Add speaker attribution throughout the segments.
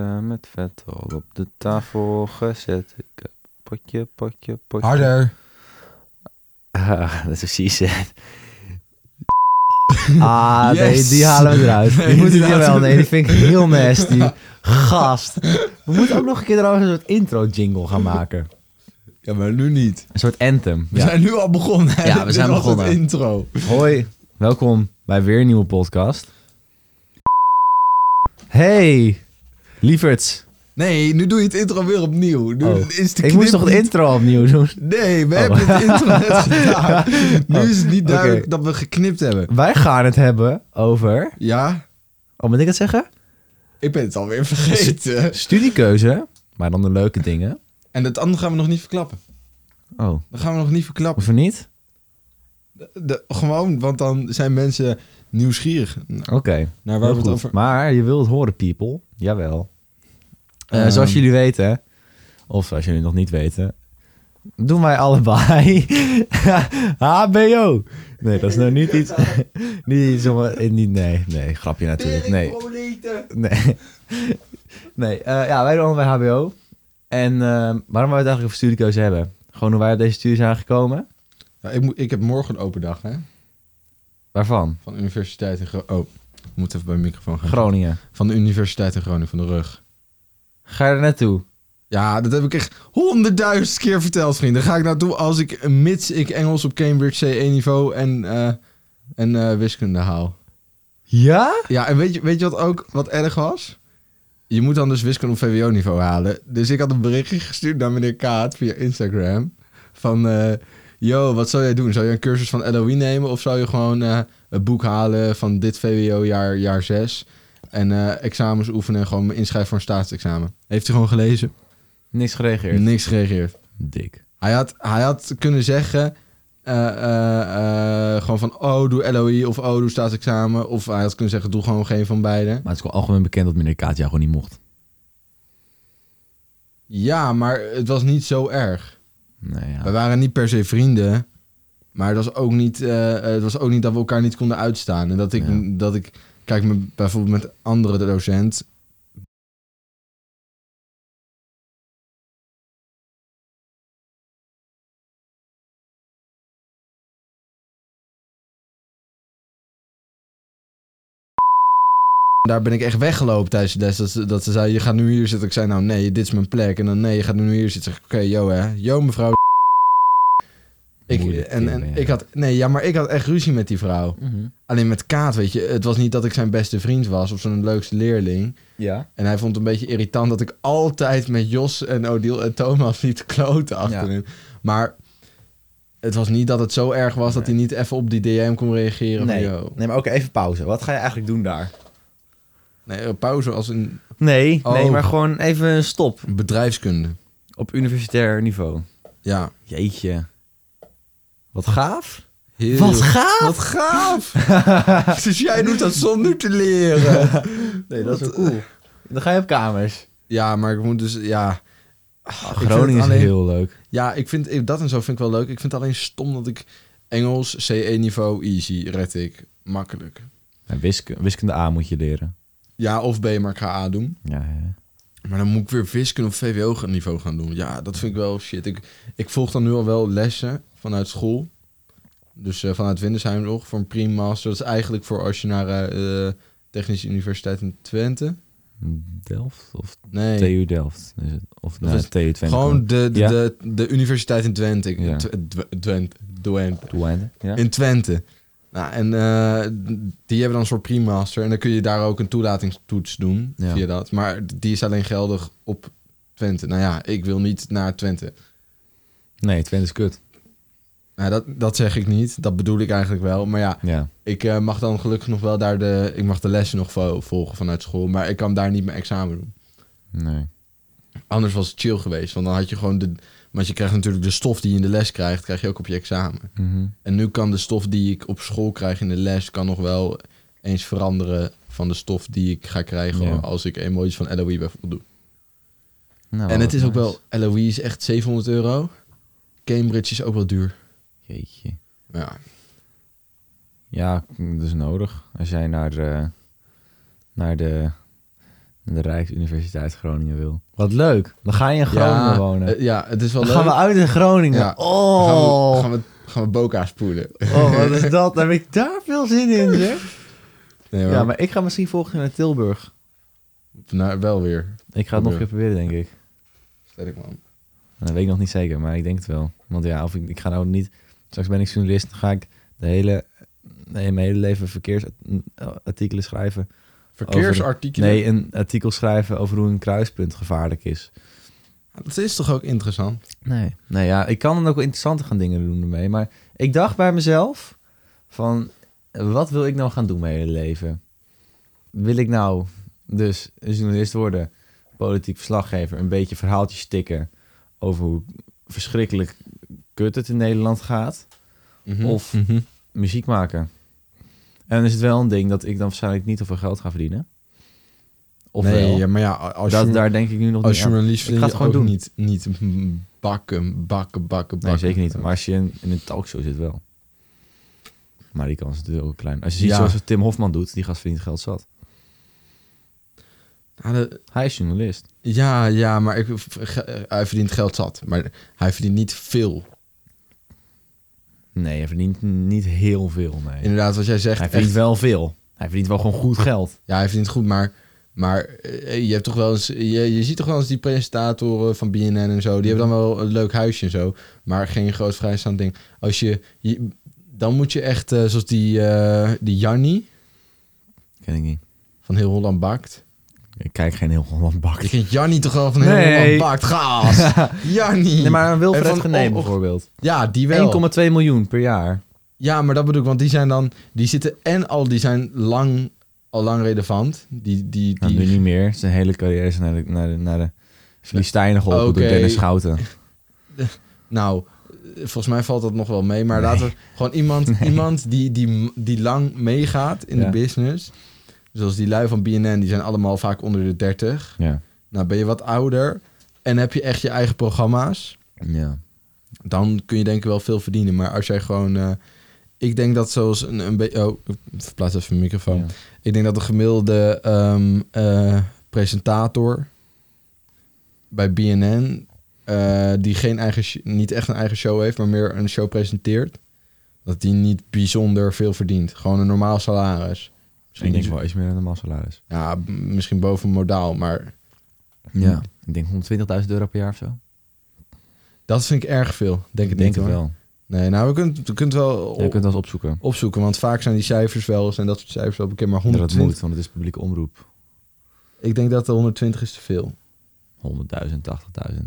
Speaker 1: Eh, met vet al op de tafel gezet. Ik heb potje, potje, potje.
Speaker 2: Harder.
Speaker 1: Ah, dat is precies het. Ah,
Speaker 2: Yes.
Speaker 1: nee, die halen we eruit.
Speaker 2: Nee,
Speaker 1: die moeten
Speaker 2: die
Speaker 1: we wel.
Speaker 2: laten we
Speaker 1: Nee, die vind ik heel nasty. Gast. We moeten ook nog een keer trouwens een soort intro-jingle gaan maken.
Speaker 2: Ja, maar nu niet.
Speaker 1: Een soort anthem.
Speaker 2: We
Speaker 1: Ja.
Speaker 2: zijn nu al begonnen. hè?
Speaker 1: Ja, we
Speaker 2: Dit
Speaker 1: zijn
Speaker 2: was het
Speaker 1: begonnen.
Speaker 2: intro.
Speaker 1: Hoi, welkom bij weer een nieuwe podcast. Hey, lieverds.
Speaker 2: Nee, nu doe je het intro weer opnieuw. Nu
Speaker 1: Oh.
Speaker 2: is de
Speaker 1: Ik
Speaker 2: knip
Speaker 1: moest toch de
Speaker 2: niet-
Speaker 1: intro opnieuw doen?
Speaker 2: Nee, we
Speaker 1: Oh.
Speaker 2: hebben het intro net gedaan. Nu is het niet
Speaker 1: Oké.
Speaker 2: duidelijk dat we geknipt hebben.
Speaker 1: Wij gaan het hebben over...
Speaker 2: Ja,
Speaker 1: Oh, moet ik het zeggen?
Speaker 2: ik ben het alweer vergeten.
Speaker 1: Studiekeuze, maar dan de leuke dingen.
Speaker 2: En dat andere gaan we nog niet verklappen.
Speaker 1: Oh,
Speaker 2: Dat gaan we nog niet verklappen.
Speaker 1: of niet?
Speaker 2: De- gewoon, want dan zijn mensen nieuwsgierig naar
Speaker 1: Oké,
Speaker 2: waar we
Speaker 1: heel
Speaker 2: het
Speaker 1: goed.
Speaker 2: over...
Speaker 1: Maar je wilt horen, people. Jawel. Eh,
Speaker 2: Ehm.
Speaker 1: Zoals jullie weten, of als jullie nog niet weten, doen wij allebei HBO. Nee, dat is nou niet iets... niet iets om... eh, Niet, nee, nee, grapje natuurlijk. Nee, Nee. nee. eh, ja, wij doen allemaal bij HBO. En eh, waarom wij het eigenlijk over studiekeuze hebben? Gewoon hoe wij op deze studie zijn gekomen.
Speaker 2: Ja, ik, moet, ik heb morgen een open dag, hè?
Speaker 1: Waarvan?
Speaker 2: Van de universiteit in Groningen. Oh, ik moet even bij de microfoon gaan.
Speaker 1: Groningen.
Speaker 2: Van de universiteit in Groningen, van de rug.
Speaker 1: Ga je er naartoe?
Speaker 2: Ja, dat heb ik echt honderdduizend keer verteld, vriend. Daar ga ik naartoe als ik, mits ik Engels op Cambridge C1 niveau en, eh, en eh, wiskunde haal.
Speaker 1: Ja?
Speaker 2: Ja, en weet je, weet je wat ook wat erg was? Je moet dan dus wiskunde op VWO niveau halen. Dus ik had een berichtje gestuurd naar meneer Kaat via Instagram. Van, eh, yo, wat zou jij doen? Zou je een cursus van LOE nemen? Of zou je gewoon eh, een boek halen van dit VWO jaar, jaar 6? En eh, examens oefenen en gewoon me inschrijven voor een staatsexamen. Heeft hij gewoon gelezen?
Speaker 1: Niks gereageerd.
Speaker 2: Niks gereageerd.
Speaker 1: Dik.
Speaker 2: Hij had, hij had kunnen zeggen... eh, eh, eh, gewoon van, oh, doe LOE of oh, doe staatsexamen. Of hij had kunnen zeggen, doe gewoon geen van beide.
Speaker 1: Maar het is wel algemeen bekend dat meneer Kaat jou gewoon niet mocht.
Speaker 2: Ja, maar het was niet zo erg.
Speaker 1: Nee,
Speaker 2: We
Speaker 1: ja.
Speaker 2: waren niet per se vrienden. Maar het was ook niet, eh, het was ook niet dat we elkaar niet konden uitstaan. En dat ik,
Speaker 1: Ja.
Speaker 2: dat ik kijk, me bijvoorbeeld met andere docent... Daar ben ik echt weggelopen tijdens de les. Dat ze, dat ze zei, je gaat nu hier zitten. Ik zei, nou nee, dit is mijn plek. En dan nee, je gaat nu hier zitten. Zeg ik, Oké, yo hè. Yo mevrouw. Ik,
Speaker 1: Moeilijk
Speaker 2: en en
Speaker 1: kinderen, ja.
Speaker 2: ik had, nee, ja, maar ik had echt ruzie met die vrouw. Alleen met Kaat, weet je, het was niet dat ik zijn beste vriend was of zijn leukste leerling.
Speaker 1: Ja.
Speaker 2: En hij vond het een beetje irritant dat ik altijd met Jos en Odile en Thomas liet kloten achterin. Maar het was niet dat het zo erg was dat hij niet even op die DM kon reageren. Nee.
Speaker 1: Nee.
Speaker 2: Van, yo.
Speaker 1: nee, maar ook even pauze. Wat ga je eigenlijk doen daar?
Speaker 2: nee, pauze als een
Speaker 1: Nee,
Speaker 2: Oh.
Speaker 1: nee, maar gewoon even een stop.
Speaker 2: bedrijfskunde.
Speaker 1: Op universitair niveau.
Speaker 2: Ja.
Speaker 1: Jeetje. Wat gaaf.
Speaker 2: Heel-
Speaker 1: gaaf?
Speaker 2: Wat gaaf! dus jij doet dat zonder te leren.
Speaker 1: Nee,
Speaker 2: dat is
Speaker 1: ook
Speaker 2: wel
Speaker 1: cool. Dan ga je op kamers.
Speaker 2: Ja, maar ik moet dus, ja. Ah, Ik vind
Speaker 1: Groningen
Speaker 2: het
Speaker 1: is
Speaker 2: alleen-
Speaker 1: heel leuk.
Speaker 2: Ja, ik vind ik- dat en zo vind ik wel leuk. Ik vind het alleen stom dat ik Engels C1 niveau easy red ik makkelijk.
Speaker 1: Ja, wiskunde, wiskunde A moet je leren.
Speaker 2: Ja of B, maar ik ga A doen.
Speaker 1: Ja, hè.
Speaker 2: Maar dan moet ik weer wiskunde op VWO gaan- niveau gaan doen. Ja, dat vind ik wel shit. Ik, ik volg dan nu al wel lessen vanuit school. Dus eh, vanuit Windesheim nog voor een pre-master. Dat is eigenlijk voor als je naar eh, eh, Technische Universiteit in Twente.
Speaker 1: Delft of
Speaker 2: Nee.
Speaker 1: TU Delft. is het. Of
Speaker 2: Dat
Speaker 1: nee,
Speaker 2: is
Speaker 1: TU Twente.
Speaker 2: Gewoon de, de,
Speaker 1: Ja.
Speaker 2: de, de universiteit in Twente. Ik-
Speaker 1: Ja.
Speaker 2: Tw- Tw- Twente. Twente.
Speaker 1: Twente, Ja.
Speaker 2: In Twente. Nou, en eh, die hebben dan een soort pre-master. En dan kun je daar ook een toelatingstoets doen
Speaker 1: Ja.
Speaker 2: via dat. Maar die is alleen geldig op Twente. Nou ja, ik wil niet naar Twente.
Speaker 1: Nee, Twente is kut.
Speaker 2: Nou, dat, dat zeg ik niet. Dat bedoel ik eigenlijk wel. Maar ja,
Speaker 1: Ja.
Speaker 2: ik eh, mag dan gelukkig nog wel daar de... Ik mag de lessen nog vo- volgen vanuit school. Maar ik kan daar niet mijn examen doen.
Speaker 1: Nee.
Speaker 2: Anders was het chill geweest. Want dan had je gewoon de... Want je krijgt natuurlijk de stof die je in de les krijgt... krijg je ook op je examen.
Speaker 1: Mhm.
Speaker 2: En nu kan de stof die ik op school krijg in de les... kan nog wel eens veranderen van de stof die ik ga krijgen...
Speaker 1: Ja.
Speaker 2: als ik emoties van LOE bijvoorbeeld doe.
Speaker 1: Nou,
Speaker 2: en het is
Speaker 1: wat
Speaker 2: ook
Speaker 1: nice.
Speaker 2: wel... LOE is echt 700 euro. Cambridge is ook wel duur.
Speaker 1: Jeetje.
Speaker 2: Ja,
Speaker 1: Ja, dat is nodig. Als jij naar eh, de, naar de, naar de Rijksuniversiteit Groningen wil. Wat leuk. Dan ga je in Groningen
Speaker 2: ja,
Speaker 1: wonen.
Speaker 2: eh, ja, het is wel
Speaker 1: dan
Speaker 2: leuk.
Speaker 1: gaan we uit in Groningen.
Speaker 2: Ja.
Speaker 1: Oh.
Speaker 2: Gaan we, gaan we, gaan we boka's poelen.
Speaker 1: oh, wat is dat? Daar heb ik daar veel zin in, zeg.
Speaker 2: Nee, maar,
Speaker 1: Ja, maar ik ga misschien volgend jaar naar Tilburg.
Speaker 2: nou, wel weer.
Speaker 1: Ik ga het nog een keer proberen, denk ik.
Speaker 2: Sterk man.
Speaker 1: Dat weet ik nog niet zeker, maar ik denk het wel. Want ja, of ik, ik ga nou niet... Straks ben ik journalist, dan ga ik de hele, nee, mijn hele leven verkeersartikelen schrijven.
Speaker 2: Verkeersartikelen.
Speaker 1: Nee, een artikel schrijven over hoe een kruispunt gevaarlijk is.
Speaker 2: Dat is toch ook interessant?
Speaker 1: Nee. Nee, ja, ik kan dan ook wel interessante gaan dingen doen ermee. Maar ik dacht bij mezelf van, wat wil ik nou gaan doen mijn hele leven? Wil ik nou dus een journalist worden, politiek verslaggever, een beetje verhaaltjes stikken over hoe verschrikkelijk kut het in Nederland gaat? Of-
Speaker 2: Mhm.
Speaker 1: Muziek maken. En dan is het wel een ding dat ik dan waarschijnlijk niet zoveel geld ga verdienen. Of
Speaker 2: nee,
Speaker 1: wel.
Speaker 2: ja, maar ja, als,
Speaker 1: dat,
Speaker 2: je,
Speaker 1: daar denk ik nu nog
Speaker 2: als
Speaker 1: niet aan.
Speaker 2: journalist
Speaker 1: Ik
Speaker 2: vind
Speaker 1: ga
Speaker 2: je
Speaker 1: het gewoon
Speaker 2: ook
Speaker 1: doen.
Speaker 2: niet, niet bakken, bakken, bakken,
Speaker 1: Nee,
Speaker 2: bakken.
Speaker 1: zeker niet. Maar als je in, in een talkshow zit wel. Maar die kans is natuurlijk ook klein. Als je ziet
Speaker 2: Ja.
Speaker 1: zoals Tim Hofman doet, die gast verdient geld zat.
Speaker 2: Ja, de-
Speaker 1: Hij is journalist.
Speaker 2: ja, ja, maar ik, ge- hij verdient geld zat. Maar hij verdient niet veel.
Speaker 1: Nee, hij verdient niet heel veel, nee.
Speaker 2: Inderdaad, wat jij zegt.
Speaker 1: hij verdient
Speaker 2: echt-
Speaker 1: wel veel. Hij verdient wel gewoon goed geld.
Speaker 2: Ja, hij verdient goed, maar, maar eh, je, hebt toch wel eens, je, je ziet toch wel eens die presentatoren van BNN en zo. Die hebben dan wel een leuk huisje en zo, maar geen groot vrijstaand ding. Als je, je- dan moet je echt, eh, zoals die, eh, die Janni
Speaker 1: Ken ik niet.
Speaker 2: van Heel Holland Bakt.
Speaker 1: Ik kijk geen heel Holland bak.
Speaker 2: Je kent Janni toch wel van Heel
Speaker 1: Nee.
Speaker 2: Holland Bakt? Gaas! Janni!
Speaker 1: Nee, maar een
Speaker 2: En
Speaker 1: Wilfred
Speaker 2: van-
Speaker 1: Genee
Speaker 2: of- of-
Speaker 1: bijvoorbeeld. 1,2
Speaker 2: Ja, die wel.
Speaker 1: miljoen per jaar.
Speaker 2: Ja, maar dat bedoel ik, want die zijn dan, die zitten en al, die zijn lang, al lang relevant. Die, die,
Speaker 1: Nou,
Speaker 2: die,
Speaker 1: nu niet meer. Zijn hele carrière is naar de, naar de, naar de Filistijnen geholpen
Speaker 2: Oké.
Speaker 1: door Dennis Schouten.
Speaker 2: Nou, eh, volgens mij valt dat nog wel mee. Maar
Speaker 1: Nee.
Speaker 2: laten we gewoon iemand, iemand die, die, die lang meegaat in
Speaker 1: Ja.
Speaker 2: de business. Zoals die lui van BNN, die zijn allemaal vaak onder de 30.
Speaker 1: Ja.
Speaker 2: Nou, ben je wat ouder en heb je echt je eigen programma's.
Speaker 1: ja.
Speaker 2: Dan kun je denk ik wel veel verdienen. Maar als jij gewoon... eh, ik denk dat zoals een, een beetje... Oh, ik verplaats even mijn microfoon.
Speaker 1: ja.
Speaker 2: Ik denk dat de gemiddelde ehm, eh, presentator bij BNN, eh, die geen eigen, sh- niet echt een eigen show heeft, maar meer een show presenteert, dat die niet bijzonder veel verdient. Gewoon een normaal salaris.
Speaker 1: Ik
Speaker 2: Misschien,
Speaker 1: denk wel iets meer dan normaal salaris.
Speaker 2: ja, m- misschien boven modaal, maar
Speaker 1: Ja. Ik denk 120.000 euro per jaar of zo.
Speaker 2: dat vind ik erg veel. Denk
Speaker 1: Ik
Speaker 2: het
Speaker 1: denk
Speaker 2: niet
Speaker 1: het
Speaker 2: hoor.
Speaker 1: wel.
Speaker 2: Nee, nou, we kunnen, we kunnen het wel Oh,
Speaker 1: Ja, je kunt dat eens opzoeken.
Speaker 2: opzoeken, want vaak zijn die cijfers wel, zijn dat soort cijfers wel bekend, maar
Speaker 1: Dat het
Speaker 2: 120,
Speaker 1: moet, want het is publieke omroep.
Speaker 2: ik denk dat de 120 is te veel.
Speaker 1: 100.000, 80.000.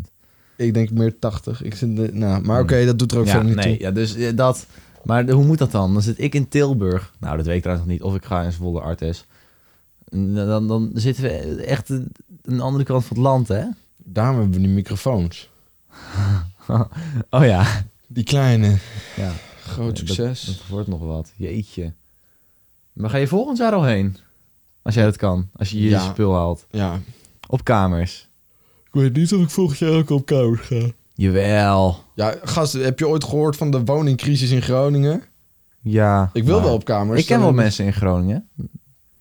Speaker 2: Ik denk meer 80. Ik zit, de- nou, maar oké, dat doet er ook
Speaker 1: Ja,
Speaker 2: verder niet toe.
Speaker 1: nee, ja, dus eh, dat. Maar de- hoe moet dat dan? Dan zit ik in Tilburg. Nou, dat weet ik trouwens nog niet. Of ik ga in Zwolle Artes. N- Dan, dan zitten we echt een- een andere kant van het land, hè?
Speaker 2: Daarom hebben we die microfoons.
Speaker 1: Oh ja.
Speaker 2: Die kleine.
Speaker 1: ja.
Speaker 2: Groot
Speaker 1: Ja,
Speaker 2: succes.
Speaker 1: Dat wordt nog wat. Jeetje. Maar ga je volgend jaar al heen? Als jij dat kan. Als je je
Speaker 2: Ja.
Speaker 1: spul haalt.
Speaker 2: Ja.
Speaker 1: Op kamers.
Speaker 2: Ik weet niet of ik volgend jaar ook op kamer ga.
Speaker 1: Jawel.
Speaker 2: Ja, gast, heb je ooit gehoord van de woningcrisis in Groningen?
Speaker 1: Ja.
Speaker 2: Ik wil
Speaker 1: maar-
Speaker 2: wel op kamers.
Speaker 1: Nou, Ik ken wel
Speaker 2: Dan-
Speaker 1: mensen in Groningen.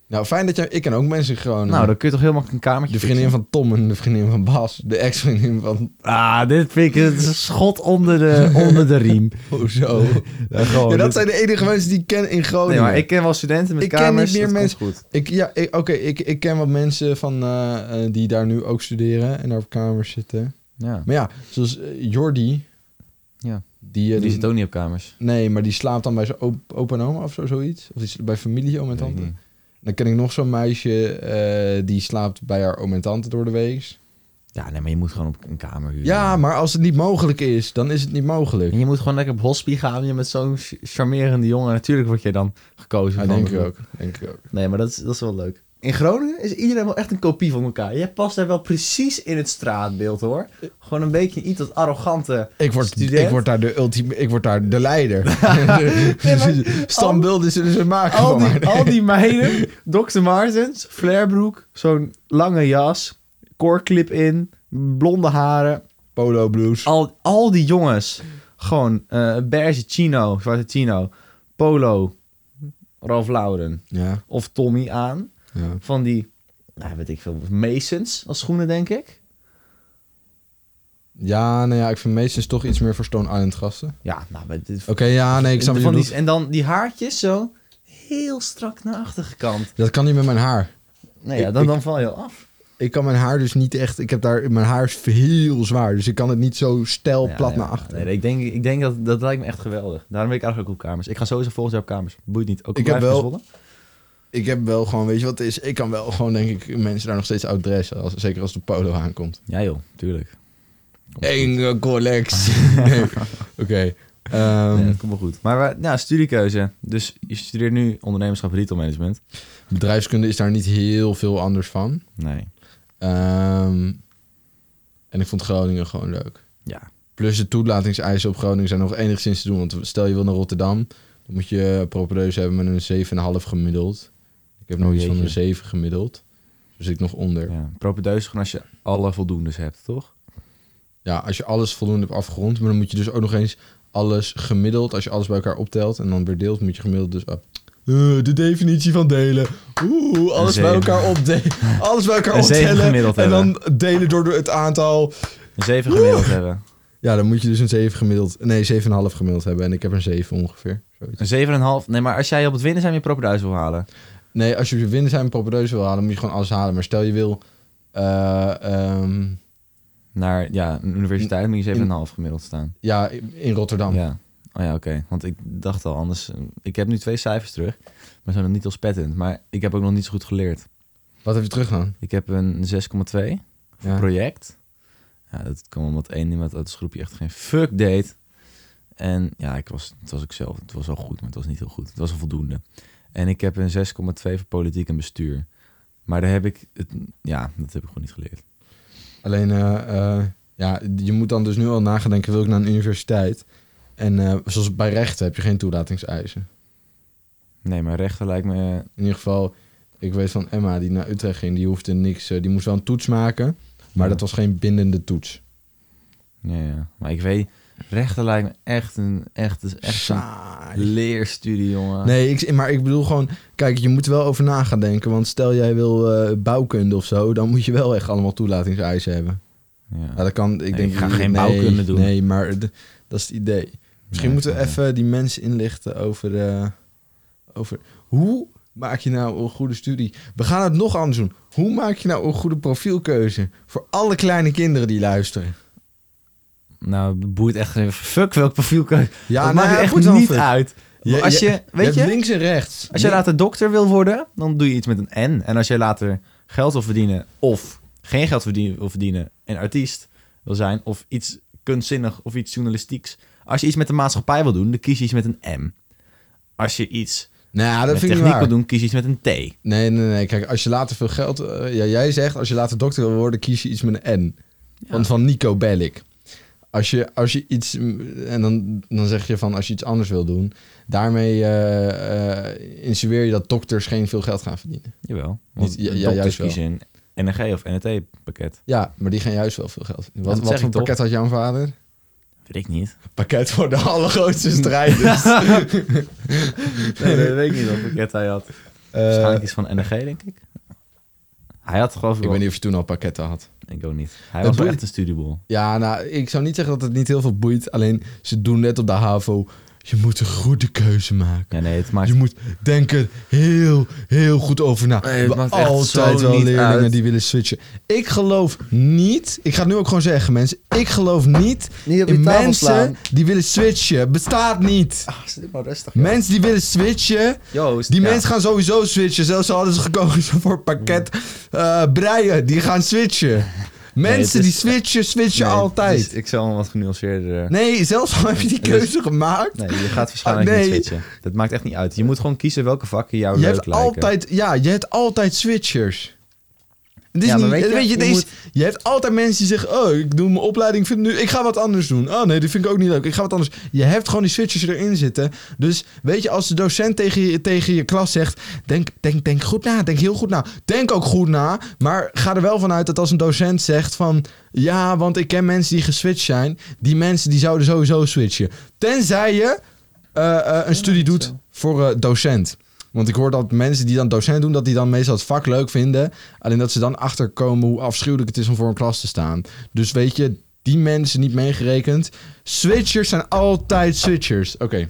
Speaker 2: Nou, fijn dat jij... Ik ken ook mensen in Groningen.
Speaker 1: Nou, dan kun je toch heel makkelijk een kamertje
Speaker 2: de vriendin
Speaker 1: fixen?
Speaker 2: van Tom en de vriendin van Bas. De ex-vriendin van...
Speaker 1: Ah, dit vind ik het is een schot onder de, onder de riem.
Speaker 2: Hoezo?
Speaker 1: Ja, gewoon,
Speaker 2: ja, dat
Speaker 1: dit-
Speaker 2: zijn de enige mensen die ik ken in Groningen.
Speaker 1: Nee, maar ik ken wel studenten met
Speaker 2: Ik ken
Speaker 1: kamers.
Speaker 2: niet meer
Speaker 1: dat
Speaker 2: mensen-
Speaker 1: komt goed.
Speaker 2: Ik, ja, ik- oké, ik, ik ken wat mensen van, eh, eh, die daar nu ook studeren en daar op kamers zitten.
Speaker 1: Ja.
Speaker 2: Maar ja, zoals eh, Jordi.
Speaker 1: Ja.
Speaker 2: Die, eh,
Speaker 1: Die
Speaker 2: die-
Speaker 1: zit ook niet op kamers.
Speaker 2: Nee, maar die slaapt dan bij zijn op, opa en oma of zo, zoiets. Of die sla- bij familie, oom en
Speaker 1: Weet ik
Speaker 2: tante.
Speaker 1: niet.
Speaker 2: Dan ken ik nog zo'n meisje eh, die slaapt bij haar oom en tante door de week.
Speaker 1: Ja, nee, maar je moet gewoon op een kamer huren.
Speaker 2: Ja, maar als het niet mogelijk is, dan is het niet mogelijk.
Speaker 1: En je moet gewoon lekker op hospie gaan je met zo'n ch- charmerende jongen. Natuurlijk word jij dan gekozen.
Speaker 2: Ja,
Speaker 1: van
Speaker 2: Ah, denk
Speaker 1: de
Speaker 2: ik
Speaker 1: groep.
Speaker 2: ook. Denk ik ook.
Speaker 1: Nee, maar dat is, dat is wel leuk. In Groningen is iedereen wel echt een kopie van elkaar. Jij past daar wel precies in het straatbeeld, hoor. Gewoon een beetje iets dat arrogante...
Speaker 2: Ik word,
Speaker 1: Student?
Speaker 2: ik word daar de ultieme, ik word daar de leider. Dus Standbeelden zullen ze maken
Speaker 1: Al
Speaker 2: van mij.
Speaker 1: die, al die meiden, Dr. Martens, flarebroek, zo'n lange jas, koorclip in, blonde haren.
Speaker 2: Polo blues.
Speaker 1: Al, al die jongens, gewoon eh beige chino, zwarte chino, polo, Ralph Lauren
Speaker 2: Ja,
Speaker 1: of Tommy aan.
Speaker 2: ja.
Speaker 1: Van die nou, weet ik veel, Masons als schoenen, denk ik.
Speaker 2: Ja, nou ja, ik vind meestens toch iets meer voor Stone Island gasten.
Speaker 1: Ja, nou, maar dit,
Speaker 2: Oké, ja, nee, ik snap
Speaker 1: en,
Speaker 2: wat je
Speaker 1: van
Speaker 2: bedoelt.
Speaker 1: die, en dan die haartjes zo heel strak naar achter gekant.
Speaker 2: Dat kan niet met mijn haar.
Speaker 1: Nee, ja,
Speaker 2: Ik-
Speaker 1: dan,
Speaker 2: ik-
Speaker 1: dan val je al af.
Speaker 2: Ik kan mijn haar dus niet echt... Ik heb daar... Mijn haar is heel zwaar, dus ik kan het niet zo stijl
Speaker 1: Ja,
Speaker 2: plat
Speaker 1: nee,
Speaker 2: naar achter.
Speaker 1: Nee, ik denk, ik denk dat dat lijkt me echt geweldig. Daarom wil ik eigenlijk ook op kamers. Ik ga sowieso volgens jou op kamers. Boeit niet. Ook al
Speaker 2: Ik heb
Speaker 1: blijf je
Speaker 2: wel-
Speaker 1: Zwolle.
Speaker 2: Ik heb wel gewoon... Weet je wat het is? Ik kan wel gewoon, denk ik, mensen daar nog steeds outdressen. Als, zeker als de polo aankomt.
Speaker 1: Ja joh, tuurlijk.
Speaker 2: Enge collectie. Nee. Oké. ehm,
Speaker 1: Nee, dat komt wel goed. Maar waar- nou, studiekeuze. Dus je studeert nu ondernemerschap retail management.
Speaker 2: Bedrijfskunde is daar niet heel veel anders van.
Speaker 1: Nee.
Speaker 2: Ehm, en ik vond Groningen gewoon leuk.
Speaker 1: Ja.
Speaker 2: Plus de toelatingseisen op Groningen zijn nog enigszins te doen. Want stel je wil naar Rotterdam, dan moet je propedeuse hebben met een 7,5 gemiddeld. Ik heb nog
Speaker 1: Oh,
Speaker 2: iets van een
Speaker 1: jeetje.
Speaker 2: 7 gemiddeld. Dus zit ik nog onder. Ja.
Speaker 1: ja. Propedeuse gewoon als je alle voldoendes hebt, toch?
Speaker 2: als je alles voldoende hebt afgerond, maar dan moet je dus ook nog eens alles gemiddeld, als je alles bij elkaar optelt en dan weer deelt, moet je gemiddeld dus. ah, eh, de definitie van delen. Oeh, alles bij
Speaker 1: zeven.
Speaker 2: elkaar opdelen. Alles bij elkaar
Speaker 1: Een zeven
Speaker 2: optellen.
Speaker 1: gemiddeld
Speaker 2: En dan delen door het aantal.
Speaker 1: Een zeven gemiddeld hebben.
Speaker 2: Ja, dan moet je dus een 7 gemiddeld. Nee, 7,5 gemiddeld hebben. En ik heb een 7 ongeveer. Zoiets.
Speaker 1: Een zeven en een half. Nee, maar als jij op het winnen zijn je propedeuse wil halen.
Speaker 2: Nee, als je op je winnen zijn propedeuse wil halen, dan moet je gewoon alles halen. Maar stel je wil. eh, ehm,
Speaker 1: Naar ja, een universiteit moet je zeven en een half gemiddeld staan.
Speaker 2: ja, in Rotterdam.
Speaker 1: Ja. Oh ja, oké. Want ik dacht al anders. Ik heb nu twee cijfers terug. Maar zijn nog niet als patent. Maar ik heb ook nog niet zo goed geleerd.
Speaker 2: Wat heb je teruggedaan?
Speaker 1: Ik heb een 6,2 voor
Speaker 2: Ja.
Speaker 1: project. Ja, dat kwam omdat één iemand uit het groepje echt geen fuck deed. En ja, ik was, het was ik zelf. Het was wel goed, maar het was niet heel goed. Het was een voldoende. En ik heb een 6,2 voor politiek en bestuur. Maar daar heb ik het, ja, dat heb ik gewoon niet geleerd.
Speaker 2: Alleen, eh, eh, ja, je moet dan dus nu al nagedenken: wil ik naar een universiteit? En eh, zoals bij rechten heb je geen toelatingseisen.
Speaker 1: Nee, maar rechten lijkt me.
Speaker 2: In ieder geval, ik weet van Emma die naar Utrecht ging, die hoefde niks. eh, die moest wel een toets maken, maar dat was geen bindende toets.
Speaker 1: Ja, ja. Maar ik weet, rechten lijkt me echt een, echt, is echt een
Speaker 2: Saai.
Speaker 1: leerstudie, jongen.
Speaker 2: Nee, ik, maar ik bedoel gewoon... Kijk, je moet er wel over na gaan denken. Want stel jij wil eh, bouwkunde of zo... dan moet je wel echt allemaal toelatingseisen hebben.
Speaker 1: Ja.
Speaker 2: Ja, dat kan... Ik, denk,
Speaker 1: ik ga
Speaker 2: nee,
Speaker 1: geen bouwkunde doen.
Speaker 2: Nee, maar d- dat is het idee. Misschien
Speaker 1: Nee,
Speaker 2: moeten we
Speaker 1: ik-
Speaker 2: even die mensen inlichten over, eh, over... Hoe maak je nou een goede studie? We gaan het nog anders doen. Hoe maak je nou een goede profielkeuze... voor alle kleine kinderen die luisteren?
Speaker 1: Nou, boeit echt geen fuck welk profiel kan. Ja, dat
Speaker 2: nou
Speaker 1: maakt
Speaker 2: ja,
Speaker 1: echt
Speaker 2: goed dan,
Speaker 1: niet
Speaker 2: Fred.
Speaker 1: uit.
Speaker 2: Je-
Speaker 1: als je, weet
Speaker 2: hebt
Speaker 1: je,
Speaker 2: links en rechts.
Speaker 1: als je later dokter wil worden, dan doe je iets met een N. En als je later geld wil verdienen of geen geld verdien- wil verdienen en artiest wil zijn of iets kunstzinnig of iets journalistieks. Als je iets met de maatschappij wil doen, dan kies je iets met een M. Als je iets
Speaker 2: Nou, dat
Speaker 1: met
Speaker 2: vind ik
Speaker 1: techniek
Speaker 2: niet waar.
Speaker 1: wil doen, kies je iets met een T.
Speaker 2: Nee, nee, nee. Kijk, als je later veel geld... eh, ja, jij zegt, als je later dokter wil worden, kies je iets met een N. Want van Nico Bellic. Als je, als je iets... mm, En dan, dan zeg je van, als je iets anders wil doen... Daarmee eh, eh, insinueer je dat dokters geen veel geld gaan verdienen.
Speaker 1: Jawel.
Speaker 2: Niet-
Speaker 1: Want
Speaker 2: ja, ja,
Speaker 1: dokters
Speaker 2: juist wel.
Speaker 1: kiezen een NNG of NET-pakket.
Speaker 2: Ja, maar die gaan juist wel veel geld verdienen. Wat,
Speaker 1: dat
Speaker 2: wat
Speaker 1: zeg
Speaker 2: voor
Speaker 1: ik toch.
Speaker 2: pakket had jouw vader?
Speaker 1: Weet ik niet.
Speaker 2: Pakket voor de allergrootste strijders. Eh,
Speaker 1: Nee, dat weet ik niet wat pakket hij had.
Speaker 2: Eh,
Speaker 1: Waarschijnlijk iets van NNG, denk ik. Hij had geloof ik
Speaker 2: ik
Speaker 1: wel...
Speaker 2: weet niet of je toen al pakketten had.
Speaker 1: Ik ook niet. Hij
Speaker 2: Dat
Speaker 1: was wel
Speaker 2: doe-
Speaker 1: echt een studiebol.
Speaker 2: Ja, nou, ik zou niet zeggen dat het niet heel veel boeit. Alleen, ze doen net op de HAVO... Je moet een goede keuze maken.
Speaker 1: Ja, nee, het maakt...
Speaker 2: Je moet denken heel, heel goed over na.
Speaker 1: Nee, het
Speaker 2: We hebben
Speaker 1: maakt echt
Speaker 2: altijd
Speaker 1: zo
Speaker 2: wel
Speaker 1: niet
Speaker 2: leerlingen
Speaker 1: uit.
Speaker 2: die willen switchen. Ik geloof niet... Ik ga het nu ook gewoon zeggen, mensen. Ik geloof niet,
Speaker 1: Niet op je
Speaker 2: in
Speaker 1: tafel
Speaker 2: mensen
Speaker 1: slaan.
Speaker 2: die willen switchen. Bestaat niet.
Speaker 1: zit maar rustig.
Speaker 2: Mensen die willen switchen... Die mensen gaan sowieso switchen. Zelfs al hadden ze gekozen voor pakket eh, breien. Die gaan switchen. Mensen
Speaker 1: het
Speaker 2: die
Speaker 1: is-
Speaker 2: switchen, switchen altijd.
Speaker 1: ik zal hem wat genuanceerder...
Speaker 2: Nee, zelfs al heb je die
Speaker 1: Dus-
Speaker 2: keuze gemaakt.
Speaker 1: Nee, je gaat waarschijnlijk
Speaker 2: Ah, nee. Eh,
Speaker 1: niet switchen. Dat maakt echt niet uit. Je moet gewoon kiezen welke vakken jou
Speaker 2: je
Speaker 1: leuk
Speaker 2: hebt
Speaker 1: lijken.
Speaker 2: altijd, ja, je hebt altijd switchers. Het is
Speaker 1: Ja, maar weet
Speaker 2: niet,
Speaker 1: je,
Speaker 2: weet je,
Speaker 1: je
Speaker 2: het is-
Speaker 1: moet-
Speaker 2: je hebt altijd mensen die zeggen: Oh, ik doe mijn opleiding, vind nu, ik ga wat anders doen. Oh nee, dat vind ik ook niet leuk. Ik ga wat anders. Je hebt gewoon die switchers erin zitten. Dus weet je, als de docent tegen je, tegen je klas zegt: denk, denk, denk goed na, denk heel goed na. Denk ook goed na, maar ga er wel vanuit dat als een docent zegt: van ja, want ik ken mensen die geswitcht zijn, die mensen die zouden sowieso switchen. Tenzij je eh, eh, een studie doet voor eh, docent. Want ik hoor dat mensen die dan docent doen, dat die dan meestal het vak leuk vinden. Alleen dat ze dan achterkomen hoe afschuwelijk het is om voor een klas te staan. Dus weet je, die mensen niet meegerekend. Switchers zijn altijd switchers. Oké.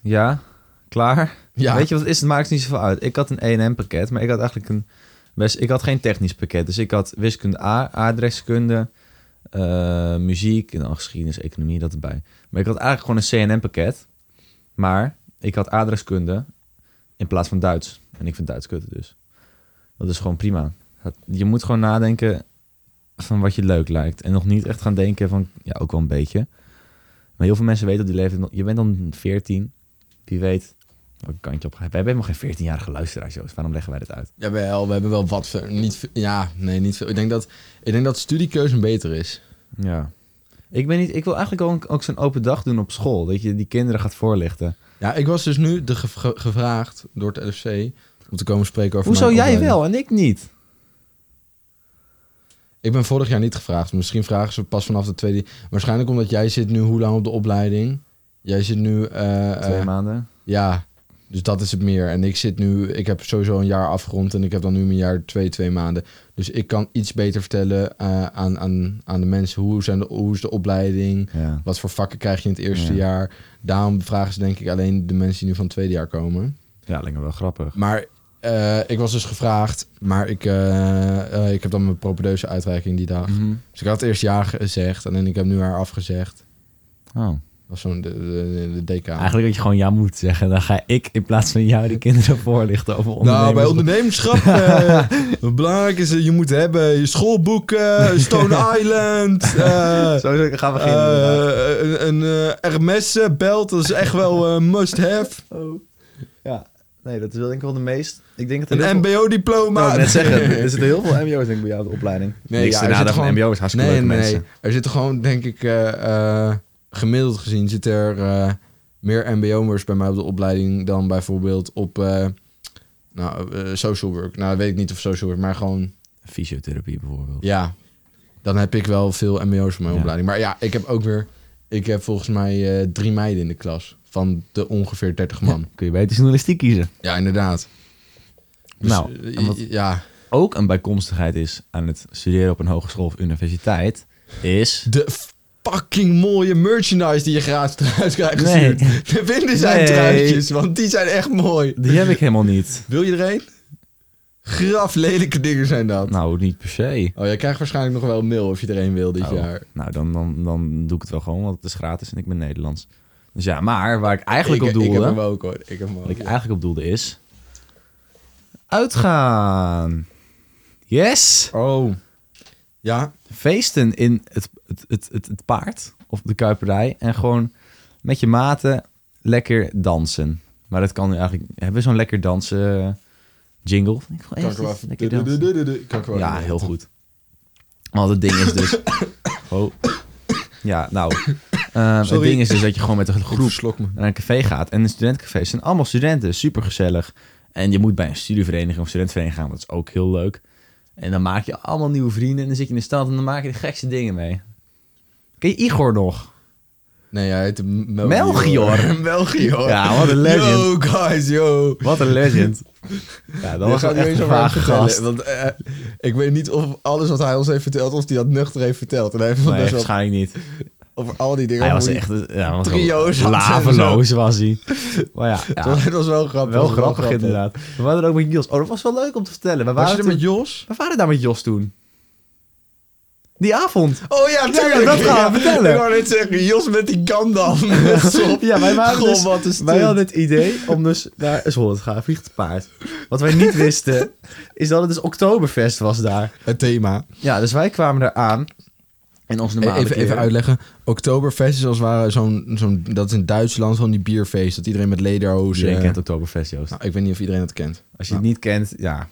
Speaker 1: Ja, klaar.
Speaker 2: Ja.
Speaker 1: Weet je wat het is? Het maakt niet zoveel uit. Ik had een 1M pakket, maar ik had eigenlijk een best. Ik had geen technisch pakket. Dus ik had wiskunde A, aardrijkskunde, eh, muziek en dan geschiedenis, economie, dat erbij. Maar ik had eigenlijk gewoon een CNM pakket. Maar ik had aardrijkskunde in plaats van Duits. En ik vind Duits kut dus. Dat is gewoon prima. Dat- Je moet gewoon nadenken van wat je leuk lijkt. En nog niet echt gaan denken van, ja, ook wel een beetje. Maar heel veel mensen weten op die leeftijd, nog- je bent dan 14. Wie weet welke kant je op gaat. Wij hebben helemaal geen 14-jarige luisteraars, Joost. Waarom leggen wij dit uit?
Speaker 2: Jawel, we hebben wel wat. ver- Niet veel- ja, nee, niet veel. Ik denk dat, ik denk dat studiekeuze beter is.
Speaker 1: Ja. Ik, ben niet, ik wil eigenlijk ook, ook zo'n open dag doen op school. Dat je die kinderen gaat voorlichten.
Speaker 2: Ja, ik was dus nu de ge- ge- gevraagd door het LFC om te komen spreken over.
Speaker 1: Hoezo
Speaker 2: mijn
Speaker 1: jij
Speaker 2: opleiding.
Speaker 1: wel en ik niet?
Speaker 2: Ik ben vorig jaar niet gevraagd. Misschien vragen ze pas vanaf de tweede. Waarschijnlijk omdat jij zit nu hoe lang op de opleiding? Jij zit nu. eh, eh,
Speaker 1: Twee maanden.
Speaker 2: ja, dus dat is het meer. En ik zit nu. Ik heb sowieso een jaar afgerond en ik heb dan nu mijn jaar twee, twee maanden. Dus ik kan iets beter vertellen eh, aan, aan, aan de mensen hoe, zijn de, hoe is de opleiding.
Speaker 1: Ja.
Speaker 2: Wat voor vakken krijg je in het eerste
Speaker 1: Ja.
Speaker 2: jaar? Daarom vragen ze denk ik alleen de mensen die nu van het tweede jaar komen.
Speaker 1: ja, lijkt me wel grappig.
Speaker 2: Maar eh, ik was dus gevraagd, maar ik, eh, eh, ik heb dan mijn propedeuse uitreiking die dag.
Speaker 1: Mhm.
Speaker 2: Dus ik had eerst ja gezegd en ik heb nu haar afgezegd.
Speaker 1: Oh.
Speaker 2: Dat was zo'n de, de, de decaan.
Speaker 1: Eigenlijk dat je gewoon ja moet zeggen. Dan ga ik in plaats van jou die kinderen voorlichten over
Speaker 2: Nou, bij
Speaker 1: ondernemers.
Speaker 2: ondernemerschap, eh, belangrijk is, eh, je moet hebben je schoolboeken, Stone Island, eh,
Speaker 1: Zo gaan we
Speaker 2: eh, een, een eh, RMS-belt, dat is echt wel een must-have.
Speaker 1: Ja. Nee, dat is wel denk ik wel de meest... Ik denk dat er heel
Speaker 2: Een
Speaker 1: veel-
Speaker 2: MBO-diploma.
Speaker 1: Nou, ik wou net zeggen, er zitten heel veel MBO's denk ik bij jou op de opleiding.
Speaker 2: Nee, Niks ja, ten er nadele zit van gewoon-
Speaker 1: MBO's, hartstikke
Speaker 2: Nee, nee, nee. Er zitten gewoon, denk ik, eh, eh, gemiddeld gezien zitten er eh, meer MBO'ers bij mij op de opleiding dan bijvoorbeeld op eh, nou, eh, social work. Nou, weet ik niet of social work, maar gewoon
Speaker 1: Fysiotherapie bijvoorbeeld.
Speaker 2: ja. Dan heb ik wel veel MBO'ers op mijn
Speaker 1: Ja.
Speaker 2: opleiding. Maar ja, ik heb ook weer, ik heb volgens mij eh, drie meiden in de klas van de ongeveer 30 man.
Speaker 1: Kun je beter journalistiek kiezen.
Speaker 2: Ja, inderdaad. Dus,
Speaker 1: Nou,
Speaker 2: eh,
Speaker 1: en wat-
Speaker 2: ja,
Speaker 1: Ook een bijkomstigheid is aan het studeren op een hogeschool of universiteit, is...
Speaker 2: de fucking mooie merchandise die je gratis eruit krijgt
Speaker 1: Nee.
Speaker 2: gestuurd. De winden zijn
Speaker 1: Nee.
Speaker 2: truitjes, want die zijn echt mooi.
Speaker 1: Die heb ik helemaal niet.
Speaker 2: Wil je er een? Graf lelijke dingen zijn dat.
Speaker 1: Nou, niet per se.
Speaker 2: Oh, jij krijgt waarschijnlijk nog wel een mail of je er een wil dit
Speaker 1: Oh,
Speaker 2: jaar.
Speaker 1: Nou, dan, dan, dan doe ik het wel gewoon, want het is gratis en ik ben Nederlands. Dus ja, maar waar ik eigenlijk
Speaker 2: ik,
Speaker 1: op doelde...
Speaker 2: Ik heb hem ook hoor. Ik heb hem ook.
Speaker 1: Wat ik eigenlijk op doelde is... Uitgaan. Yes.
Speaker 2: Oh. Ja,
Speaker 1: Feesten in het, het, het, het, het paard of de kuiperij. En gewoon met je maten lekker dansen. Maar dat kan nu eigenlijk... Hebben we zo'n lekker dansen eh, jingle? Ik wil
Speaker 2: kan ik
Speaker 1: echt
Speaker 2: wel
Speaker 1: iets
Speaker 2: even...
Speaker 1: lekker dansen.
Speaker 2: dududududu, Kan ik wel
Speaker 1: Ja,
Speaker 2: even-
Speaker 1: heel goed. Want het ding is dus... Oh. Ja, nou. ehm, het
Speaker 2: Sorry.
Speaker 1: ding is dus dat je gewoon met een
Speaker 2: Ik
Speaker 1: groep
Speaker 2: verslok me.
Speaker 1: naar een café gaat. En een studentencafé zijn allemaal studenten, supergezellig. En je moet bij een studievereniging of studentenvereniging gaan, dat is ook heel leuk. En dan maak je allemaal nieuwe vrienden en dan zit je in de stad en dan maak je de gekste dingen mee. Ken je Igor nog?
Speaker 2: Nee, hij heet M-
Speaker 1: Melchior.
Speaker 2: Melchior.
Speaker 1: Ja, wat een legend.
Speaker 2: Yo, guys, yo.
Speaker 1: Wat een legend. Ja, dat
Speaker 2: Dit
Speaker 1: was
Speaker 2: ga
Speaker 1: wel
Speaker 2: ik nu
Speaker 1: echt
Speaker 2: eens
Speaker 1: een
Speaker 2: over hem
Speaker 1: vage
Speaker 2: vertellen,
Speaker 1: gast.
Speaker 2: Want, eh, ik weet niet of alles wat hij ons heeft verteld, of hij dat nuchter heeft verteld. En hij heeft
Speaker 1: Nee,
Speaker 2: best wel
Speaker 1: waarschijnlijk niet.
Speaker 2: over al die dingen.
Speaker 1: Hij was
Speaker 2: hoe die-
Speaker 1: echt... eh, Ja, hij was
Speaker 2: trio's had en
Speaker 1: Laveloos was hij. Maar ja, ja,
Speaker 2: Het was- het was wel grappig.
Speaker 1: wel
Speaker 2: het was
Speaker 1: grappig inderdaad. We waren er ook met Jos. Oh, dat was wel leuk om te vertellen. We
Speaker 2: Was je
Speaker 1: waren,
Speaker 2: er
Speaker 1: toen-
Speaker 2: met Jos?
Speaker 1: we waren daar met Jos toen. Die avond.
Speaker 2: Oh ja,
Speaker 1: Ja,
Speaker 2: tuurlijk.
Speaker 1: dat gaan we vertellen.
Speaker 2: Ik wou net zeggen, Jos met die Gandalf. met sop.
Speaker 1: Ja, wij waren
Speaker 2: Goh,
Speaker 1: dus-
Speaker 2: wat is
Speaker 1: Wij
Speaker 2: dit?
Speaker 1: hadden het idee om dus naar Zwolle te gaan, vliegt het paard. Wat wij niet wisten, is dat het dus Oktoberfest was daar.
Speaker 2: Het thema.
Speaker 1: Ja, dus wij kwamen daar aan. En ons normale
Speaker 2: Even, even
Speaker 1: kleren.
Speaker 2: uitleggen. Oktoberfest is als het ware zo'n... zo'n dat is in Duitsland van die bierfeest. Dat iedereen met lederhozen...
Speaker 1: Iedereen kent Oktoberfest, Joost.
Speaker 2: Nou, ik weet niet of iedereen dat kent.
Speaker 1: Als je het niet kent, ja.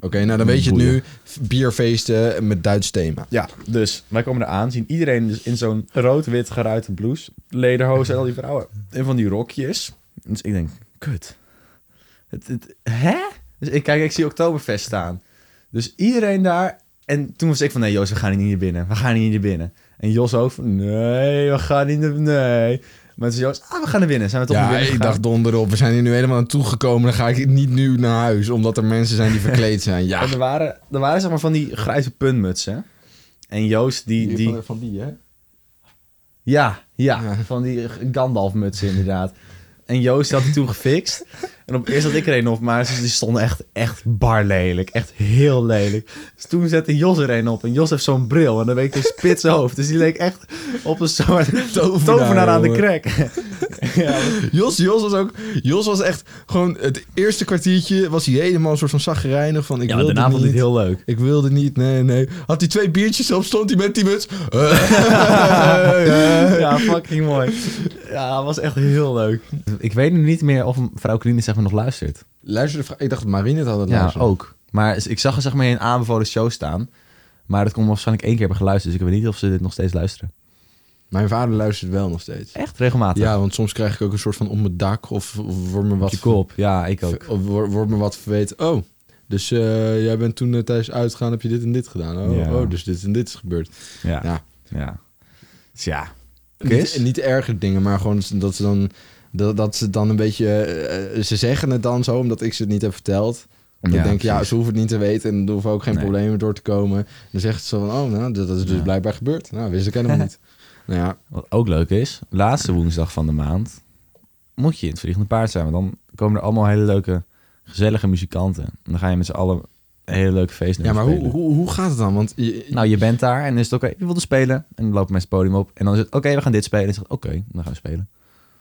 Speaker 2: Oké, nou dan weet je het
Speaker 1: Boeien.
Speaker 2: nu. Bierfeesten met Duits thema.
Speaker 1: Ja, dus wij komen eraan, zien iedereen dus in zo'n rood-wit geruite blouse. Lederhozen en al die vrouwen. En van die rokjes. Dus ik denk, kut. Het, het, hè? Dus ik kijk, ik zie Oktoberfest staan. Dus iedereen daar. En toen was ik van, nee Jos, we gaan hier niet naar binnen. We gaan hier niet naar binnen. En Jos ook van, nee, we gaan niet naar Nee. Maar toen zei Joost, ah, we gaan er winnen. Zijn we toch weer
Speaker 2: ja,
Speaker 1: winnen
Speaker 2: ik
Speaker 1: gegaan?
Speaker 2: dacht donder op. We zijn hier nu helemaal aan toegekomen. Dan ga ik niet nu naar huis, omdat er mensen zijn die verkleed zijn. Ja.
Speaker 1: En er waren, er waren zeg maar van die grijze puntmutsen. En Joost, die... die
Speaker 2: van die, hè?
Speaker 1: ja, ja,
Speaker 2: Ja.
Speaker 1: van die Gandalf-mutsen inderdaad. En Joost had die toen gefixt. En op eerst had ik er een op, maar ze- die stonden echt, echt bar lelijk. Echt heel lelijk. Dus toen zette Jos er een op. En Jos heeft zo'n bril en dan weet je een spits hoofd. Dus die leek echt op een soort
Speaker 2: Tovenaar,
Speaker 1: tovenaar aan de
Speaker 2: jongen.
Speaker 1: crack. ja,
Speaker 2: Jos, Jos was ook... Jos was echt gewoon... Het eerste kwartiertje was hij helemaal een soort van zagrijnig. Van, ik
Speaker 1: ja maar
Speaker 2: wilde
Speaker 1: daarna vond
Speaker 2: niet.
Speaker 1: hij het heel leuk.
Speaker 2: Ik wilde niet, nee, nee. Had hij twee biertjes op, stond hij met die muts. Eh,
Speaker 1: Ja, fucking mooi. Ja, was echt heel leuk. Ik weet nu niet meer of vrouw Kline zeg maar nog luistert.
Speaker 2: Luister, de vra- ik dacht Marine het had het
Speaker 1: Ja,
Speaker 2: luisteren.
Speaker 1: ook. Maar ik zag er zeg maar in een aanbevolen show staan. Maar dat kon waarschijnlijk één keer hebben geluisterd. Dus ik weet niet of ze dit nog steeds luisteren.
Speaker 2: Mijn vader luistert wel nog steeds.
Speaker 1: Echt regelmatig.
Speaker 2: Ja, want soms krijg ik ook een soort van om mijn dak of, of wordt me
Speaker 1: Op
Speaker 2: wat...
Speaker 1: je kop. Ja, ik ook.
Speaker 2: Of wordt wordt me wat verweten. Oh, dus eh, jij bent toen eh, tijdens uitgaan heb je dit en dit gedaan. Oh,
Speaker 1: Ja.
Speaker 2: oh, dus dit en dit is gebeurd.
Speaker 1: Ja.
Speaker 2: Ja.
Speaker 1: Ja. Dus ja.
Speaker 2: Niet, eh, niet erge dingen, maar gewoon dat ze dan... Dat, dat ze dan een beetje... eh, ze zeggen het dan zo, omdat ik ze het niet heb verteld. Omdat
Speaker 1: Ja,
Speaker 2: ik denk, ja,
Speaker 1: precies.
Speaker 2: ze hoeven het niet te weten en er hoeven ook geen
Speaker 1: Nee.
Speaker 2: problemen door te komen. Dan zegt ze van, oh, nou, dat dat is dus
Speaker 1: Ja.
Speaker 2: blijkbaar gebeurd. Nou, wist ik helemaal niet. Nou ja,
Speaker 1: Wat ook leuk is, laatste woensdag van de maand moet je in het Vliegende Paard zijn. Want dan komen er allemaal hele leuke, gezellige muzikanten. En dan ga je met z'n allen een hele leuke feestnummers
Speaker 2: ja maar hoe,
Speaker 1: spelen.
Speaker 2: hoe, hoe gaat het dan? Want je,
Speaker 1: Nou, je bent daar en dan is het oké, je wilde spelen. En dan lopen mensen het podium op. En dan is het oké, we gaan dit spelen. En dan zegt oké, dan gaan we spelen.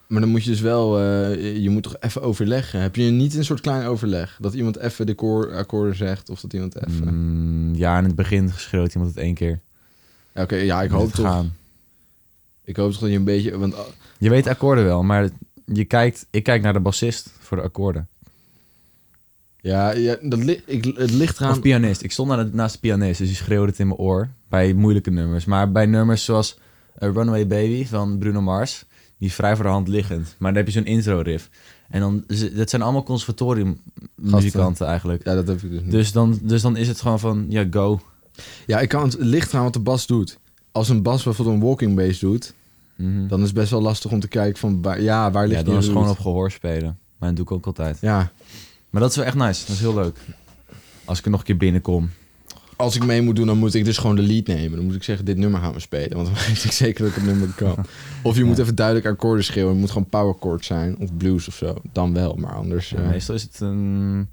Speaker 2: Maar dan moet je dus wel, eh, je moet toch even overleggen. Heb je niet een soort klein overleg? Dat iemand even de koor- akkoorden zegt of dat iemand even...
Speaker 1: Mm, ja, in het begin schreeuwt iemand het één keer.
Speaker 2: Ja, Oké, ja, ik
Speaker 1: Moet
Speaker 2: hoop
Speaker 1: het
Speaker 2: toch.
Speaker 1: gaan.
Speaker 2: Ik hoop toch dat je een beetje... Want, ah,
Speaker 1: Je weet de akkoorden wel, maar je kijkt, ik kijk naar de bassist voor de akkoorden.
Speaker 2: ja, ja dat li- ik, het ligt eraan...
Speaker 1: Of pianist. Ik stond na- naast de pianist, dus die schreeuwde het in mijn oor. Bij moeilijke nummers. Maar bij nummers zoals eh, Runaway Baby van Bruno Mars. Die is vrij voor de hand liggend. Maar dan heb je zo'n intro riff. En dan, ze- dat zijn allemaal conservatoriummuzikanten eigenlijk.
Speaker 2: Ja, dat heb ik dus niet.
Speaker 1: Dus dan, dus dan is het gewoon van, ja, go.
Speaker 2: Ja, ik kan, het ligt eraan wat de bas doet. Als een bas bijvoorbeeld een walking bass doet...
Speaker 1: Mhm.
Speaker 2: dan is het best wel lastig om te kijken van... Waar, ja, waar ligt
Speaker 1: Ja, dan
Speaker 2: nu
Speaker 1: is
Speaker 2: de
Speaker 1: het gewoon
Speaker 2: root?
Speaker 1: op gehoor spelen. Maar dat doe ik ook altijd.
Speaker 2: Ja,
Speaker 1: Maar dat is wel echt nice. Dat is heel leuk. Als ik er nog een keer binnenkom.
Speaker 2: als ik mee moet doen, dan moet ik dus gewoon de lead nemen. Dan moet ik zeggen, dit nummer gaan we spelen. Want dan weet ik zeker dat ik het nummer kan. Of je moet even duidelijk akkoorden schreeuwen. Het moet gewoon power chord zijn. Of blues of zo. Dan wel, maar anders...
Speaker 1: Ja,
Speaker 2: eh,
Speaker 1: meestal is het een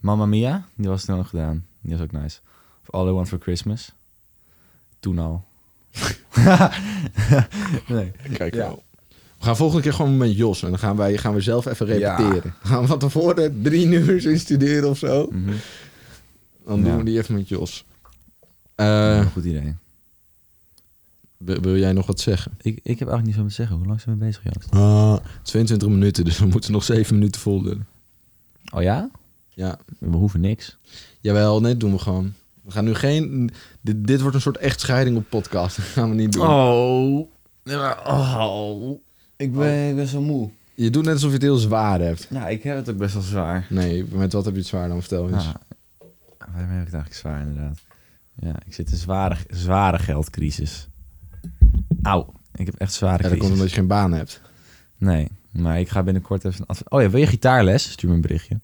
Speaker 1: Mamma Mia. Die was snel gedaan. Die was ook nice. Of All I Want For Christmas. Toen al. nee.
Speaker 2: Kijk
Speaker 1: Ja.
Speaker 2: wel. We gaan volgende keer gewoon met Jos. En dan gaan, wij, gaan we zelf even repeteren.
Speaker 1: Ja.
Speaker 2: Dan Gaan we van tevoren drie nummers instuderen of zo.
Speaker 1: Mhm.
Speaker 2: Dan doen
Speaker 1: Ja.
Speaker 2: we die even met Jos. Eh,
Speaker 1: Goed idee.
Speaker 2: wi- wil jij nog wat zeggen?
Speaker 1: Ik, ik heb eigenlijk niet zo te zeggen. Hoe lang zijn we bezig, Joost?
Speaker 2: 22 minuten, dus we moeten nog 7 minuten voldoen.
Speaker 1: Oh ja?
Speaker 2: Ja.
Speaker 1: We hoeven niks.
Speaker 2: Jawel, nee, dat doen we gewoon. We gaan nu geen... Dit, dit wordt een soort echt scheiding op podcast. Dat gaan we niet doen.
Speaker 1: Oh. oh. Ik, ben, ik ben zo moe.
Speaker 2: Je doet net alsof je het heel zwaar hebt.
Speaker 1: Nou, ik heb het ook best wel zwaar.
Speaker 2: Nee, met wat heb je het zwaar dan? Vertel eens.
Speaker 1: Ja. Waarom Nou, heb ik het eigenlijk zwaar, inderdaad? Ja, ik zit in een zware, zware geldcrisis. Auw. Ik heb echt zware
Speaker 2: Ja, dat komt
Speaker 1: crisis.
Speaker 2: omdat je geen baan hebt.
Speaker 1: Nee, maar ik ga binnenkort even... een adv- Oh ja, wil je gitaarles? Stuur me een berichtje.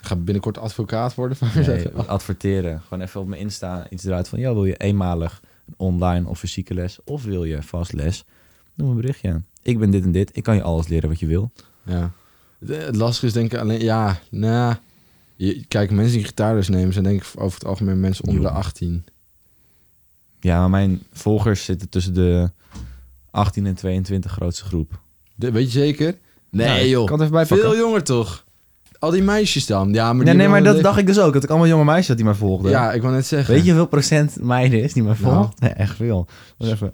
Speaker 2: Ga binnenkort advocaat worden van
Speaker 1: Nee, adverteren. Gewoon even op mijn Insta iets eruit van... Ja, wil je eenmalig een online of fysieke les? Of wil je vast les? Doe me een berichtje aan. Ik ben dit en dit. Ik kan je alles leren wat je wil.
Speaker 2: Ja. Het- Het lastige is denk ik alleen... Ja, nou... je- Kijk, mensen die gitaarles nemen zijn denk ik over het algemeen mensen onder de
Speaker 1: Jong.
Speaker 2: 18.
Speaker 1: Ja, maar mijn volgers zitten tussen de 18 en 22 grootste groep.
Speaker 2: De- weet je zeker? Nee
Speaker 1: Nou, ik
Speaker 2: joh,
Speaker 1: kan het even bijpakken.
Speaker 2: veel jonger toch? Al die meisjes dan. Ja, maar,
Speaker 1: Nee,
Speaker 2: die
Speaker 1: nee, maar
Speaker 2: hebben
Speaker 1: dat
Speaker 2: wel
Speaker 1: dacht ik dus ook. Dat ik allemaal jonge meisjes had die mij
Speaker 2: een
Speaker 1: volgden.
Speaker 2: le- Ja, ik wou net zeggen.
Speaker 1: Weet je hoeveel procent meiden is die mij
Speaker 2: Nou.
Speaker 1: volgt? Nee, echt veel. Wacht even.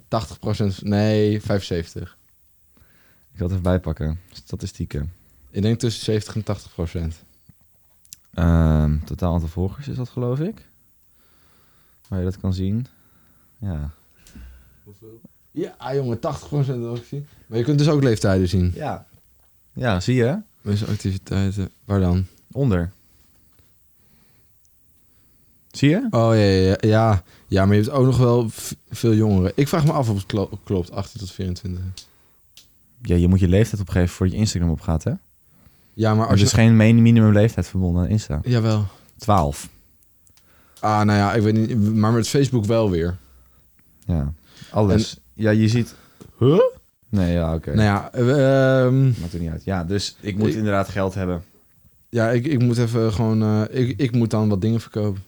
Speaker 2: 80%, nee, 75.
Speaker 1: Ik zal het even bijpakken. Statistieken.
Speaker 2: Ik denk tussen 70 en 80 procent.
Speaker 1: Ehm, totaal aantal volgers is dat, geloof ik. Waar je dat kan zien. Ja.
Speaker 2: Ja, ah, jongen, 80 procent ook zien. Maar je kunt dus ook leeftijden zien.
Speaker 1: Ja. Ja, zie je?
Speaker 2: Mensen activiteiten, waar dan?
Speaker 1: Onder. Zie je?
Speaker 2: Oh ja, ja, ja, ja. Ja, maar je hebt ook nog wel v- veel jongeren. Ik vraag me af of het klo- klopt, 18 tot 24.
Speaker 1: ja, je moet je leeftijd opgeven voordat je Instagram opgaat, hè?
Speaker 2: Ja, maar
Speaker 1: Er
Speaker 2: als
Speaker 1: is
Speaker 2: je...
Speaker 1: geen min- minimum leeftijd verbonden aan Insta.
Speaker 2: dus- Jawel.
Speaker 1: 12.
Speaker 2: Ah, nou ja, ik weet niet. Maar met Facebook wel weer.
Speaker 1: Ja. Alles. Ja, je ziet... Huh? Nee, ja, oké.
Speaker 2: Nou ja, eh, ehm,
Speaker 1: Maakt er niet uit. Ja, dus ik moet
Speaker 2: Ik-
Speaker 1: inderdaad geld hebben.
Speaker 2: ja ik, ik moet even gewoon... eh, ik, ik moet dan wat dingen verkopen.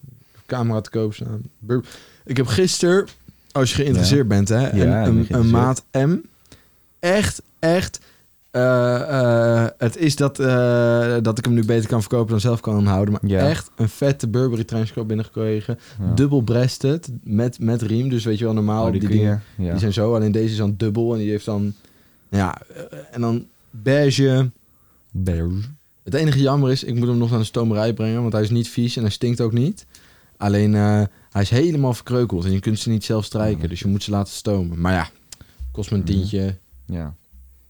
Speaker 2: Camera te koop staan. Bur- Ik heb gisteren, als je geïnteresseerd bent, hè,
Speaker 1: ik ben
Speaker 2: een, een, een
Speaker 1: geïnteresseerd.
Speaker 2: maat M. Echt, echt... eh, eh, het is dat, eh, dat ik hem nu beter kan verkopen dan zelf kan houden. Maar
Speaker 1: Ja.
Speaker 2: echt een vette Burberry trenchcoat binnengekregen.
Speaker 1: Ja.
Speaker 2: Dubbel breasted met, met riem. Dus weet je wel, normaal
Speaker 1: Oh,
Speaker 2: die,
Speaker 1: die kun
Speaker 2: dingen
Speaker 1: je- ja.
Speaker 2: Die zijn zo, alleen deze is dan dubbel en die heeft dan... nou Ja, eh, en dan beige. Het enige jammer is, ik moet hem nog naar de stomerij brengen, want hij is niet vies en hij stinkt ook niet. Alleen eh, hij is helemaal verkreukeld en je kunt ze niet zelf strijken, dus je moet ze laten stomen. Maar ja, kost me een
Speaker 1: Mhm.
Speaker 2: tientje.
Speaker 1: Ja.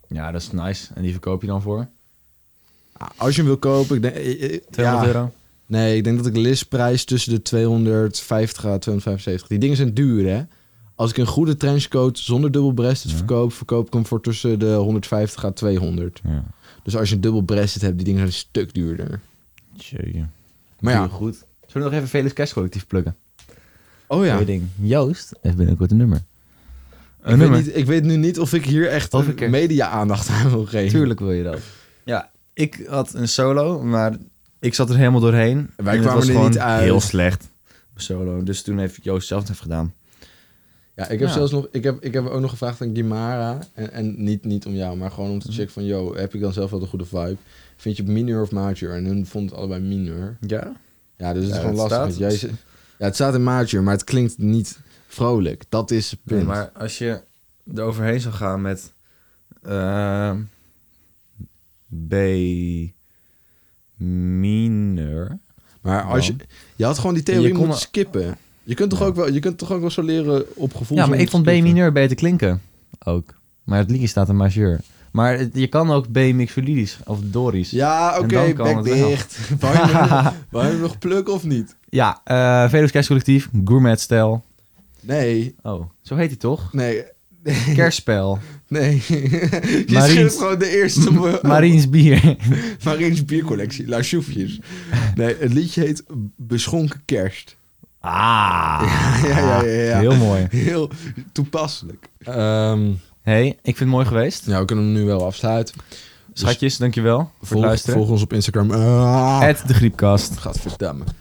Speaker 1: ja, dat is nice. En die verkoop je dan voor?
Speaker 2: Ah, Als je hem wil kopen, ik denk... eh, eh,
Speaker 1: 200
Speaker 2: ja.
Speaker 1: euro?
Speaker 2: Nee, ik denk dat ik listprijs tussen de 250 en 275. Die dingen zijn duur, hè? Als ik een goede trenchcoat zonder dubbelbreasted
Speaker 1: Ja.
Speaker 2: verkoop, verkoop ik hem voor tussen de 150 en 200.
Speaker 1: Ja.
Speaker 2: Dus als je een dubbel breasted hebt, die dingen zijn een stuk duurder.
Speaker 1: Tjeje.
Speaker 2: Maar ja,
Speaker 1: goed. Zullen we nog even Felix Cash collectief plukken?
Speaker 2: oh ja.
Speaker 1: Goeie ding. Joost heeft binnenkort een nummer. Een
Speaker 2: Ik weet, niet, ik weet nu niet of ik hier echt
Speaker 1: Of ik er-
Speaker 2: media-aandacht aan wil geven.
Speaker 1: Tuurlijk wil je dat. Ja, ik had een solo, maar ik zat er helemaal doorheen. En het
Speaker 2: kwamen
Speaker 1: was
Speaker 2: er
Speaker 1: gewoon
Speaker 2: niet uit.
Speaker 1: heel slecht. Solo. Dus toen heeft Joost zelf het even gedaan.
Speaker 2: Ja, ik heb
Speaker 1: Ja.
Speaker 2: zelfs nog, ik heb, ik heb ook nog gevraagd aan Gimara. En, en niet, niet om jou, maar gewoon om te
Speaker 1: Mhm.
Speaker 2: checken van, yo, heb ik dan zelf wel de goede vibe? Vind je het mineur of major? En hun vond het allebei mineur.
Speaker 1: Ja?
Speaker 2: Ja, dus het
Speaker 1: Ja,
Speaker 2: is gewoon
Speaker 1: het
Speaker 2: lastig.
Speaker 1: staat-
Speaker 2: want jij, ze- ja, het staat in major, maar het klinkt niet vrolijk. Dat is het punt.
Speaker 1: Nee, maar als je er overheen zou gaan met... ehm, B... Minor.
Speaker 2: Maar als je,
Speaker 1: Dan.
Speaker 2: je had gewoon die
Speaker 1: En
Speaker 2: theorie
Speaker 1: je kon-
Speaker 2: moeten skippen. Je kunt, toch
Speaker 1: Ja.
Speaker 2: ook wel, je kunt toch ook wel zo leren op gevoel.
Speaker 1: Ja,
Speaker 2: zo
Speaker 1: maar ik
Speaker 2: moeten
Speaker 1: vond B
Speaker 2: skippen?
Speaker 1: mineur beter klinken. Ook. Maar het liedje staat in majeur. Maar het- je kan ook B mixolydisch of dorisch.
Speaker 2: Ja,
Speaker 1: En
Speaker 2: oké,
Speaker 1: dan komen
Speaker 2: bek
Speaker 1: we er
Speaker 2: dicht. Wou je, nog- wou je nog pluk of niet?
Speaker 1: Ja, eh Velux Kerst Collectief, Gourmet Stijl.
Speaker 2: Nee,
Speaker 1: Oh, zo heet hij toch?
Speaker 2: nee,
Speaker 1: Kerstspel,
Speaker 2: nee. Je
Speaker 1: Mariens-
Speaker 2: schiet gewoon de eerste mo-
Speaker 1: Mariens Bier.
Speaker 2: Mariens biercollectie. La Choufjes. Nee, het liedje heet Beschonken Kerst.
Speaker 1: Ah,
Speaker 2: Ja, ja, ja. ja.
Speaker 1: heel mooi. Ehm,
Speaker 2: Heel toepasselijk.
Speaker 1: hey, ik vind het mooi geweest.
Speaker 2: nou, we kunnen hem nu wel afsluiten.
Speaker 1: Schatjes, dankjewel voor het luisteren.
Speaker 2: ons op Instagram. Ah,
Speaker 1: At de Griepkast.
Speaker 2: Gaat verdammen.